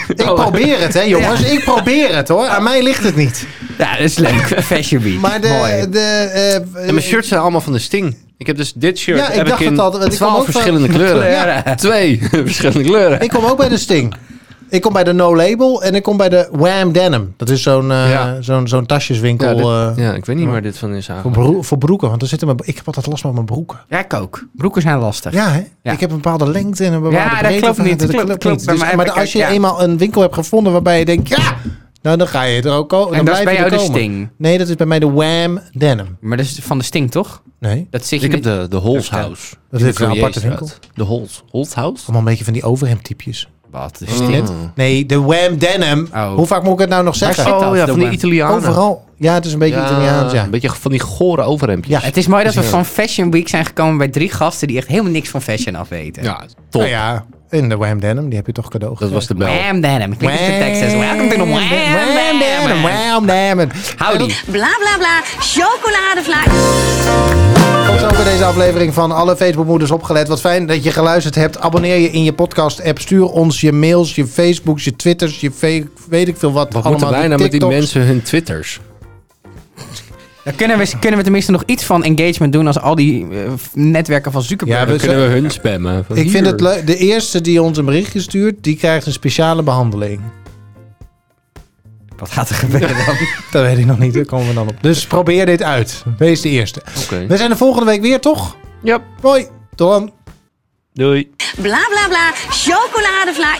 ik
Oh.
probeer het, hè jongens. Ik probeer het hoor. Aan mij ligt het niet.
Ja, dat is leuk.
<laughs>
Fashion Week.
Maar
Mooi.
de... de eh,
en mijn shirts zijn allemaal van de Sting. Ik heb dus dit shirt.
Ja, ik
heb
dacht
in
het al, want ik kwam
twaalf
ook van- <laughs>
verschillende kleuren.
kleuren.
Ja, Twee <laughs> verschillende kleuren.
Ik kom ook bij de Sting. Ik kom bij de No Label en ik kom bij de Wham Denim. Dat is zo'n eh,
Ja.
zo'n zo'n tasjeswinkel.
ja, dit-
eh,
ja, ik weet niet waar dit van is
Voor,
eigenlijk.
broe- voor broeken, want er zitten mijn, ik heb altijd last met mijn broeken.
Ja, ik ook. Broeken zijn lastig.
Ja, hè?
Ja.
ik heb een bepaalde lengte en een bepaalde
Ja, dat
breedte
klopt
van-
niet. Klopt, klopt. Bij
Dus-
mij heb
maar
ik
als je
ook, ja.
eenmaal een winkel hebt gevonden waarbij je denkt, ja, nou, dan ga je er ook komen.
En
dan
dat is bij
blijf je
jou
er
de
komen.
sting.
Nee, dat is bij mij de Wham Denim.
Maar dat is van de stink, toch?
Nee,
Dat zit je
Ik heb
niet-
de, de Holshouse.
dat is een aparte winkel. Oh,
De Hols. Holshouse?
Allemaal een beetje van die overhemdtypjes.
Wat? De
Net.
stink?
Nee, de Wham Denim.
Oh.
Hoe vaak moet ik het nou nog zeggen?
zit dat?
Oh ja, van
Domme.
die Italianen.
Overal. Ja, het is een beetje Italiaans, ja.
Een beetje van die gore overhempjes.
Ja.
Het is mooi dat we van Fashion Week zijn gekomen bij drie gasten die echt helemaal niks van fashion af weten.
Ja, top.
Nou ja, in de Wham Denim, die heb je toch cadeau
Dat was de bel.
Wham Denim. Klinkt als de Texas. Welcome to the Wham
Wham
Denim.
Wham Denim.
Howdy.
Bla bla bla, chocoladevlaak.
Tot zover deze aflevering van alle Facebookmoeders opgelet. Wat fijn dat je geluisterd hebt. Abonneer je in je podcast-app. Stuur ons je mails, je Facebooks, je Twitters, je ve- weet ik veel wat.
Wat
allemaal
moeten wij nou met die
TikToks.
mensen hun twitters?
Dan kunnen we, kunnen we tenminste nog iets van engagement doen als al die eh, netwerken van Zuckerberg.
Ja,
Dan kunnen we hun spammen. Van
Ik vind
hier.
het leuk. De eerste die ons een berichtje stuurt, die krijgt een speciale behandeling.
Wat gaat er gebeuren dan?
<laughs> Dat weet ik nog niet. Daar komen we dan op. Dus probeer dit uit. Wees de eerste.
Oké.
We zijn de volgende week weer, toch?
Ja.
Hoi. Tot dan.
Doei.
Bla bla bla, chocoladevlaak.